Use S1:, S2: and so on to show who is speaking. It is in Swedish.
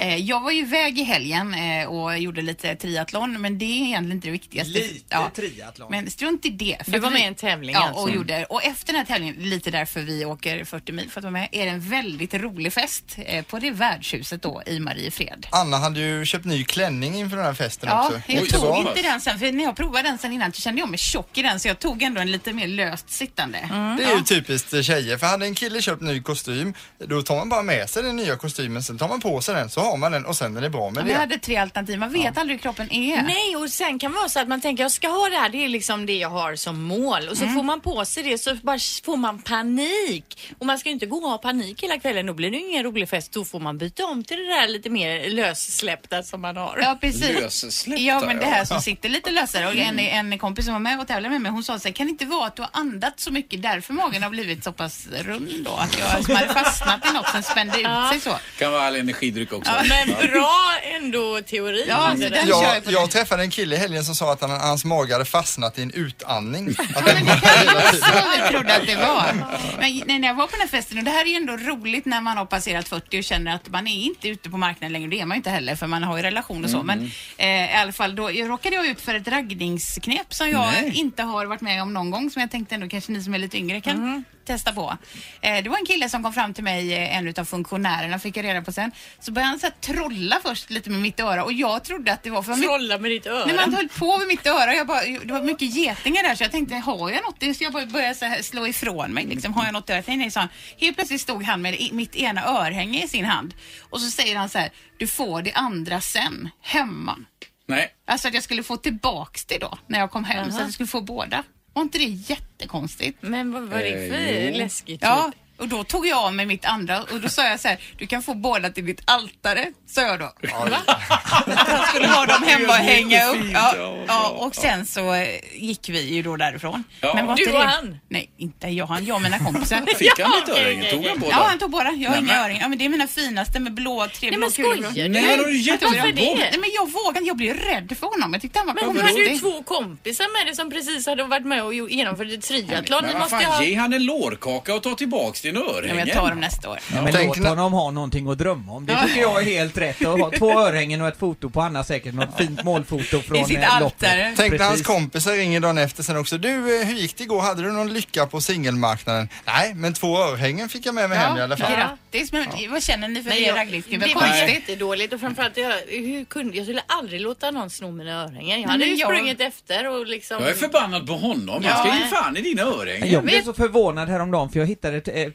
S1: Eh, Jag var ju iväg i helgen eh, och gjorde lite triathlon men det är egentligen inte det viktigaste.
S2: Lite triathlon.
S1: Men strunt i det. För
S3: Du
S1: att
S3: var
S1: vi-
S3: med i en tävling
S1: ja,
S3: alltså.
S1: och gjorde. Och efter den här tävlingen, lite därför vi åker 40 mil för att vara med, är det en väldigt rolig fest eh, på det värdshuset då i Mariefred.
S2: Anna hade ju köpt ny klänning inför den här festen
S1: Ja,
S2: också.
S1: jag
S2: Oj,
S1: tog
S2: så.
S1: inte den sen för när jag provade den sen innan så kände jag mig tjock i den så jag tog ändå en lite mer löst sittande.
S2: Det är ju typiskt tjejer, för hade en kille köpt ny kostym, då tar man bara med sig den nya kostymen, sen tar man på sig den, så har man den och sen är det bra med
S1: Vi
S2: det.
S1: hade tre alternativ, man vet aldrig hur kroppen är.
S3: Nej, och sen kan det vara så att man tänker jag ska ha det här, det är liksom det jag har som mål. Och så får man på sig det så bara får man panik. Och man ska ju inte gå och ha panik hela kvällen, då blir det ju ingen rolig fest. Då får man byta om till det där lite mer lössläppta som man har.
S1: Ja, precis.
S4: Lössläppta,
S1: Ja, men det här som sitter lite lösare. Och en, en kompis som var med och tävlade med mig, hon sa så här, kan det inte vara att du har andats så mycket därför magen har blivit så pass rund då? Att jag som hade fastnat i något som spände ut sig så.
S4: Kan vara all energidryck också.
S3: Men bra ändå teori. Alltså,
S1: Ja,
S3: Det
S1: så
S3: där.
S1: den kör
S2: Jag,
S1: jag på
S2: jag
S1: det.
S2: träffade en kille i helgen som sa att han, hans mage hade fastnat i en utandning. Att
S1: Ja,
S2: den
S1: men det kan jag också vi trodde att det var. Men nej, när jag var på den här festen, och det här är ju ändå roligt när man har passerat 40 och känner att man är inte ute på marknaden längre. Det är man ju inte heller för man har ju relation och så. Men eh, i alla fall, då jag råkade jag ut för ett raggningsknep som jag inte har varit med om någon gång. Som jag tänkte ändå kanske ni som är lite yngre kan testa på. Eh, det var en kille som kom fram till mig, eh, en utav funktionärerna fick jag reda på sen. Så började han så här, trolla först lite med mitt öra och jag trodde att det var för mycket-
S3: Trolla med ditt öra.
S1: Nej, men han höll på vid mitt öra. Jag bara, det var mycket getingar där så jag tänkte, har jag något? Så jag bara började så här slå ifrån mig. Liksom, har jag något i örat? Nej, nej, sa han. Helt plötsligt stod han med i- mitt ena örhänge i sin hand. Och så säger han så här, du får det andra sen, hemma.
S4: Nej.
S1: Alltså att jag skulle få tillbaks det då, när jag kom hem. Så att jag skulle få båda. Var inte det jättekonstigt?
S3: Men vad var det
S4: Eh,
S3: för
S4: jo.
S3: läskigt?
S1: Ja, och då tog jag av mig mitt andra och då sa jag så här, du kan få båda till ditt altare, sa jag då. Va? Att han skulle ha dem hemma och hänga upp. Ja, ja, och sen så eh, gick vi ju då därifrån.
S4: Ja.
S1: var
S3: Du
S1: inte
S3: och
S1: det-
S3: han?
S1: Nej, inte jag och han, jag och mina kompisar.
S4: Fick han
S3: Ja,
S4: lite öringen? Tog han båda?
S1: Ja, han tog båda. Jag har
S4: Nej,
S1: inga
S4: men-
S1: öringar. Ja, men det är mina finaste med blå, tre
S3: Nej
S1: blå
S3: men skojar
S1: kulor.
S3: du?
S4: Nej, han har ju gett
S1: Jag
S3: Varför
S1: tog dem.
S3: det?
S1: Nej, men jag vågade Jag blev rädd för honom. Jag tyckte han var
S3: Men du
S1: konstig.
S3: hade ju två kompisar med dig som precis hade varit med och jo- genomfört ett triathlon. Ni
S4: Men vad
S3: måste
S4: fan,
S3: ju ha...
S4: ge han en lårkaka och ta tillbaks din
S1: Ja, men
S4: örhängen.
S1: jag tar dem nästa år.
S5: Ja, men
S2: Tänk
S5: låt
S2: när-
S5: honom ha någonting att drömma om. Det tycker jag är helt rätt. Att ha två örhängen och ett foto på Anna säkert. Något fint målfoto från
S1: I sitt
S5: eh, loppet.
S1: altare.
S2: Tänk när hans
S5: Precis.
S2: kompisar ringer dagen efter sen också. Du, eh, hur gick det igår? Hade du någon lycka på singelmarknaden? Nej, men två örhängen fick jag med mig hem i alla fall.
S1: Grattis, men vad känner ni för
S3: Nej,
S1: det
S3: jag-
S1: raggningskniv?
S3: det
S1: Vad
S3: var
S1: konstigt.
S3: jättedåligt och framförallt jag, hur kunde, jag skulle aldrig låta någon sno mina örhängen. Jag hade
S1: men
S3: ju
S1: jag-
S3: sprungit efter och liksom...
S4: Jag är förbannad på honom. Han ska ge fan i dina örhängen.
S5: Jag blev så förvånad häromdagen för jag hittade ett, ett